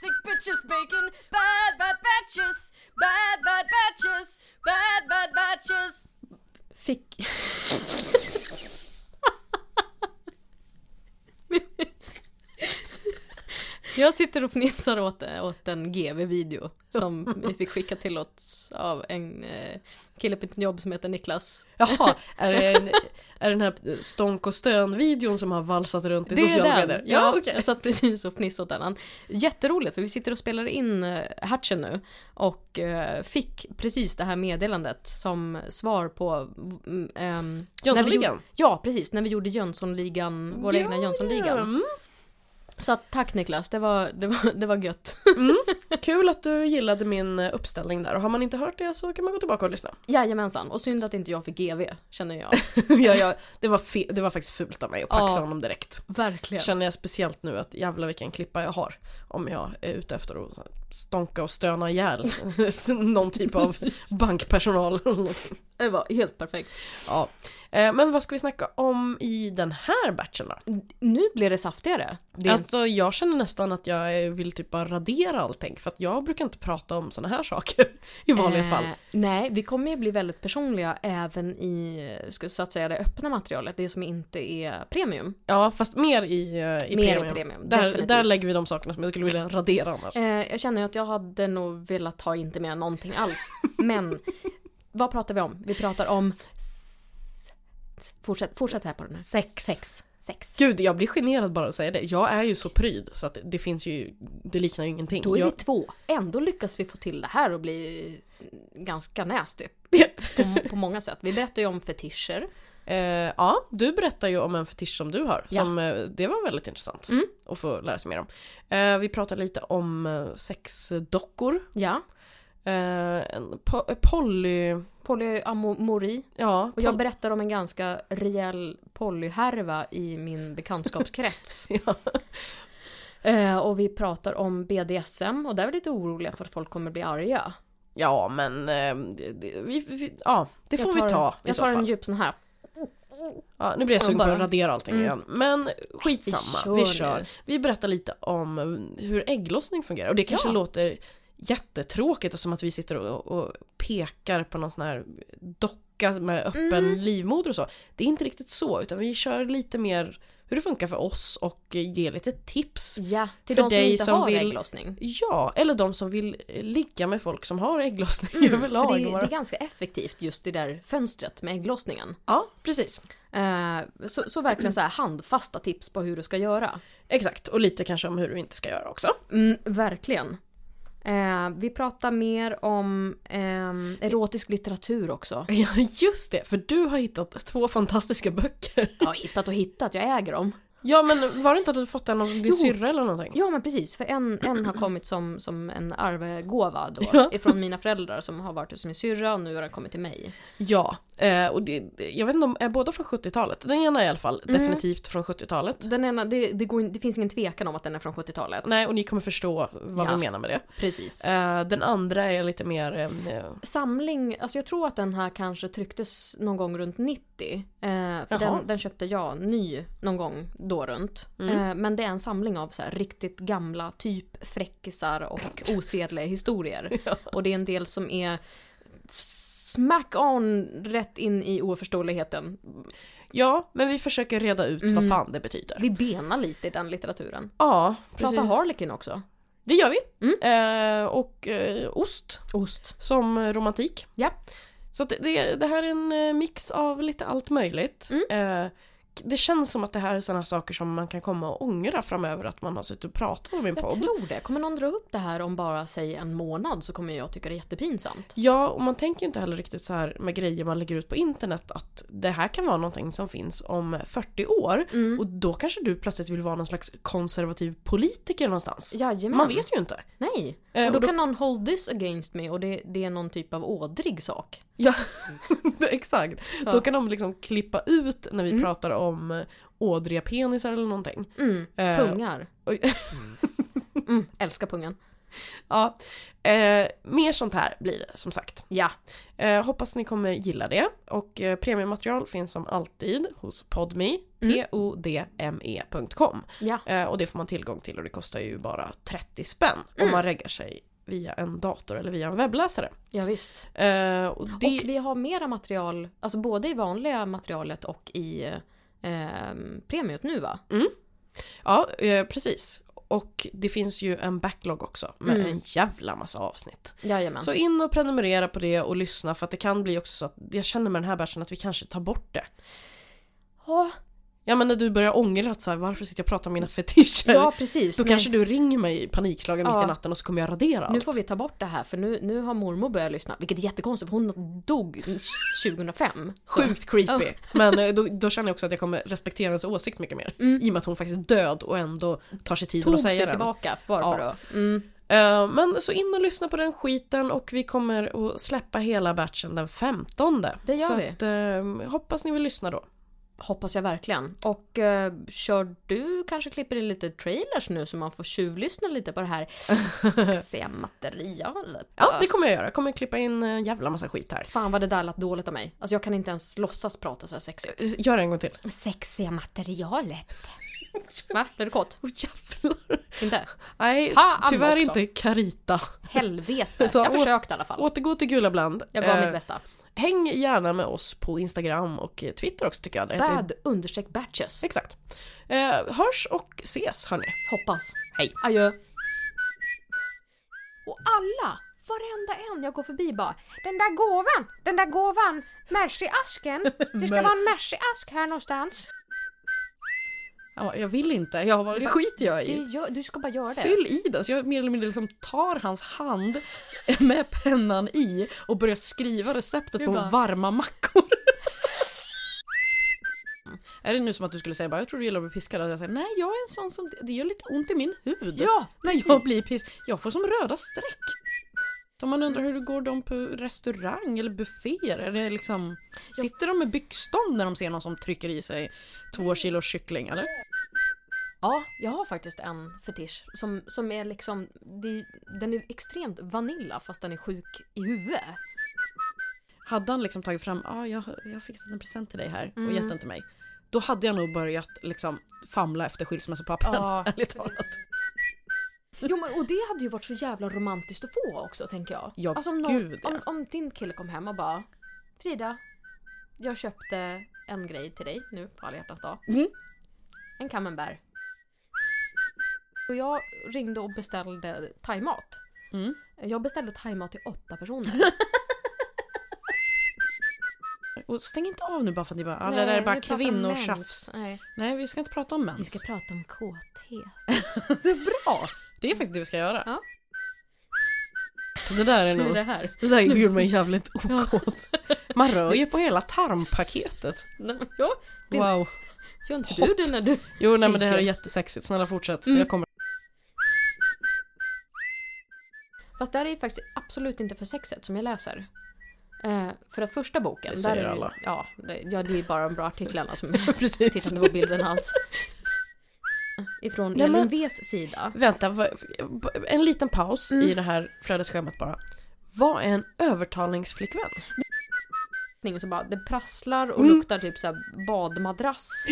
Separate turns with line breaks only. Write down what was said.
sandwiches, bacon, bad, bad batches, bad, bad batches, bad, bad batches. Fick...
Jag sitter och fnissar åt, åt en GV-video som vi fick skicka till oss av en eh, kille på ett jobb som heter Niklas.
Jaha, är det, en, är det den här Stonk och Stön-videon som har valsat runt i sociala medier?
Ja, jag satt precis och fnissade åt den. Han- Jätteroligt för vi sitter och spelar in eh, Hatchen nu och eh, fick precis det här meddelandet som svar på... Mm, ehm, När vi,
Jönssonligan.
gjorde- ja, precis. När vi gjorde Jönssonligan, våra egna Jönssonligan.
Mm.
Så att, tack Niklas, det var, det var, det var gött.
Kul att du gillade min eh, uppställning där och har man inte hört det så kan man gå tillbaka och lyssna.
Jajamensan, och synd att inte jag fick GV känner jag.
ja, ja, det, var fe- det var faktiskt fult av mig att paxa
Ja.
honom direkt.
Verkligen.
Känner jag speciellt nu att jävla vilken klippa jag har. Om jag är ute efter att så här stonka och stöna ihjäl någon typ av bankpersonal. eller något.
Det var helt perfekt.
ja. Eh, Men vad ska vi snacka om i den här batchen då?
Nu blir det saftigare. Det är
Alltså jag känner nästan att jag eh, vill typ bara radera allting för att jag brukar inte prata om såna här saker i vanliga
Eh,
fall.
Nej, vi kommer ju bli väldigt personliga även i ska, så att säga, det öppna materialet, det som inte är premium.
Ja fast mer i, eh,
Mer i
i premium.
premium,
där,
definitivt.
där lägger vi de sakerna som jag skulle vilja radera annars.
Eh, jag känner ju att jag hade nog velat ha inte med någonting alls. Men vad pratar vi om? Vi pratar om... Fortsätt, fortsätt här på den här.
Sex.
Sex. Sex.
Gud jag blir generad bara att säga det. Jag är ju så pryd så att det finns ju, det liknar ju ingenting.
Då är
jag,
vi två. Ändå lyckas vi få till det här och bli ganska nasty.
Ja.
På, på många sätt. Vi berättar ju om fetischer.
Eh, ja, du berättar ju om en fetisch som du har.
Ja.
Som, eh, det var väldigt intressant
Mm.
att få lära sig mer om. Eh, vi pratade lite om eh, sexdockor.
Ja.
Eh, en po- eh, poly...
Polyamori.
Ja,
Och jag
pol-
berättar om en ganska rejäl polyhärva i min bekantskapskrets.
ja.
eh, och vi pratar om BDSM och där är vi lite oroliga för att folk kommer bli arga.
ja, men eh, det, det, vi, vi, ja, det
Jag
får vi
tar-
ta i
Jag
så
tar en
fall.
djup sån här.
Ja, nu blir jag sugen på
bara-
att radera allting
Mm.
igen. Men skitsamma,
Vi
vi
kör
kör.
nu.
Vi berättar lite om hur ägglossning fungerar. Och det kanske
Ja.
låter jättetråkigt och som att vi sitter och, och pekar på någon sån här docka med öppen
Mm.
livmoder och så. Det är inte riktigt så, utan vi kör lite mer hur det funkar för oss och ger lite tips.
Ja, till
För
de som
dig
inte
som
har
vill-
ägglossning.
Ja, eller de som vill ligga med folk som har ägglossning
Mm, för
överlag.
det, det
Bara-
är ganska effektivt just det där fönstret med ägglossningen.
Ja, precis.
Eh, så, så verkligen så här handfasta tips på hur du ska göra.
Exakt, och lite kanske om hur du inte ska göra också.
Mm, verkligen. Eh, vi pratar mer om ehm, erotisk litteratur också.
Ja, just det, för du har hittat två fantastiska böcker.
Ja, hittat och hittat, jag äger dem.
Ja men var det inte att du fått en av din
Jo.
syrra eller någonting?
Ja men precis, för en, en har kommit som, som en arvegåva då.
Ja.
Ifrån mina föräldrar som har varit hos min syrra och nu har den kommit till mig.
Ja, eh, och det, jag vet inte om, är båda från 70-talet? Den ena är i alla fall
Mm.
definitivt från 70-talet.
Den ena, det, det, går, in- det finns ingen tvekan om att den är från 70-talet.
Nej, och ni kommer förstå vad
Ja.
vi menar med det.
Precis.
Eh, den andra är lite mer... Eh,
Samling, alltså jag tror att den här kanske trycktes någon gång runt 90. Eh, för
Jaha.
den, den köpte jag ny någon gång då runt.
Mm.
Eh, men det är en samling av så här, riktigt gamla typ fräckisar och osedliga historier. Och det är en del som är smack on rätt in i oförståeligheten.
ja, men vi försöker reda ut vad fan det betyder.
Vi benar lite i den litteraturen.
Ja, precis.
Prata Harlekin också.
Det gör vi. Eh, och eh, ost
Mm. Ost.
som romantik.
Ja.
Så att det- det, det här är en eh, mix av lite allt möjligt.
Mm.
Eh, det känns som att det här är sådana saker som man kan komma och ångra framöver att man har suttit och pratat om i en
Jag
podd.
tror det. Kommer någon dra upp det här om bara säg en månad så kommer jag tycka det är jättepinsamt.
Ja, och man tänker ju inte heller riktigt så här med grejer man lägger ut på internet att det här kan vara någonting som finns om 40
Mm.
år och då kanske du plötsligt vill vara någon slags konservativ politiker någonstans.
Jajamän.
Man vet ju inte.
Nej.
Eh,
Och
och
då
då-
kan någon hold this against me och det, det är någon typ av ådrig sak.
Ja, exakt.
Så. Mm.
Då kan de liksom klippa ut när vi pratar om eh, ådriga penisar eller någonting.
Mm.
Eh,
Pungar.
oj.
Mm, älskar pungen.
Ja, eh, mer sånt här blir det som sagt.
Ja.
Eh, hoppas ni kommer gilla det. Och eh, premiummaterial finns som alltid hos Podme,
Mm.
podme.com.
Ja.
E Eh, och det får man tillgång till och det kostar ju bara 30 spänn om
Mm.
man reggar sig via en dator eller via en webbläsare.
Ja, visst.
Eh, och det...
Och vi har mera material, alltså både i vanliga materialet och i eh, premiet nu va?
Ja, eh, precis. Och det finns ju en backlog också med
Mm.
en jävla massa avsnitt.
Jajamän.
Så in och prenumerera på det och lyssna för att det kan bli också så att jag känner med den här bärsen att vi kanske tar bort det.
Ja,
Ja men när du börjar ångra att så här, varför sitter jag och pratar om mina fetischer?
ja precis.
Då
Nej,
kanske du ringer mig panikslagen mitt
Ja.
i natten och så kommer jag radera
Nu
allt.
får vi ta bort det här för nu, nu har mormor börjat lyssna. Vilket är jättekonstigt för hon dog 2005. Så.
Sjukt creepy. Men eh, då, då känner jag också att jag kommer respektera hennes åsikt mycket mer. I och med att hon faktiskt är död och ändå tar sig tiden
Mm. Tog
att säga
sig
den.
tillbaka bara
Ja.
för att... Mm.
Eh, men så in och lyssna på den skiten och vi kommer att släppa hela batchen den 15.
Det gör
så
vi.
Att, eh, hoppas ni vill lyssna då.
Hoppas jag verkligen. Och eh, kör du kanske klipper in lite trailers nu så man får tjuvlyssna lite på det här sexiga materialet.
Ja, det kommer jag göra. Jag kommer klippa in en jävla massa skit här.
Fan vad det där lät dåligt av mig. Alltså jag kan inte ens låtsas prata så här sexigt.
Eh, Gör det en gång till.
Sexiga materialet. Va? Blev du kåt?
Åh jävlar.
Inte?
Nej,
Fan
tyvärr
också.
inte Carita.
Helvete.
Ta
Jag
åt-
försökte i alla fall.
Återgå till Gula Bland.
Jag gav
Eh,
mitt bästa.
Häng gärna med oss på Instagram och eh, Twitter också tycker jag. Det heter-
Bad understreck batches.
Exakt. Eh, hörs och ses hörni.
Hoppas.
Hej.
Adjö. Och alla, varenda en jag går förbi bara Den där gåvan, den där gåvan, mers i asken. Det ska
Mer-
vara en mers i ask här någonstans.
Ja, jag vill inte. Jag har det skiter jag
Det
i.
gör, du ska bara göra det.
Fyll i den. Så jag mer eller mindre liksom tar hans hand med pennan i och börjar skriva receptet
Du
på
bara-
varma mackor. Är det nu som att du skulle säga bara, jag tror du gillar att bli piskad? Och jag säger, nej jag är en sån som, det gör lite ont i min hud.
Ja,
när jag blir piss. Jag får som röda streck. Om man undrar hur det går dem på restaurang eller bufféer. Är det liksom, sitter de med byggstånd när de ser någon som trycker i sig två kilo kyckling eller?
Ja, jag har faktiskt en fetisch som, som är liksom, det, den är extremt vanilla fast den är sjuk i huvudet.
Hade han liksom tagit fram, ah, jag, jag har fixat en present till dig här och
Mm.
gett den till mig. Då hade jag nog börjat liksom famla efter skilsmässopappren.
Ja.
Ärligt talat.
Jo men och det hade ju varit så jävla romantiskt att få också tänker jag. Alltså,
Ja,
om,
gud, ja.
om, om din kille kom hem och bara Frida, jag köpte en grej till dig nu på alla hjärtans dag.
Mm.
En camembert. Och jag ringde och beställde thaimat.
Mm.
Jag beställde thaimat till åtta personer.
Och stäng inte av nu bara för att ni bara, ah, det
Nej,
där är bara
vi pratar om
kvinnotjafs.
mens. Nej,
Nej, vi ska inte prata om mens.
vi ska prata om KT.
Bra! Det är faktiskt det vi ska göra.
Ja.
Det där är
Nu
nog...
det här.
Det där gjorde mig jävligt okåt. Man rör ju på hela tarmpaketet.
Ja, Det-
Wow.
gör inte
Hot.
du det när du...
Jo nej men det här är
Kinky.
jättesexigt, snälla fortsätt. Så
Mm.
jag kommer...
Fast där är ju faktiskt absolut inte för sexet som jag läser. Eh, för att första boken...
Det säger
där är ju-
alla.
Ja det, ja, det är bara de bra artiklarna som jag
Precis.
tittar inte på bilden alls. Ifrån
Nej, men-
Elin V's sida.
Vänta, va- en liten paus
Mm.
i det här flödesschemat bara. Vad är en övertalningsflickvän?
Och så bara, det prasslar och
Mm.
luktar typ så här badmadrass.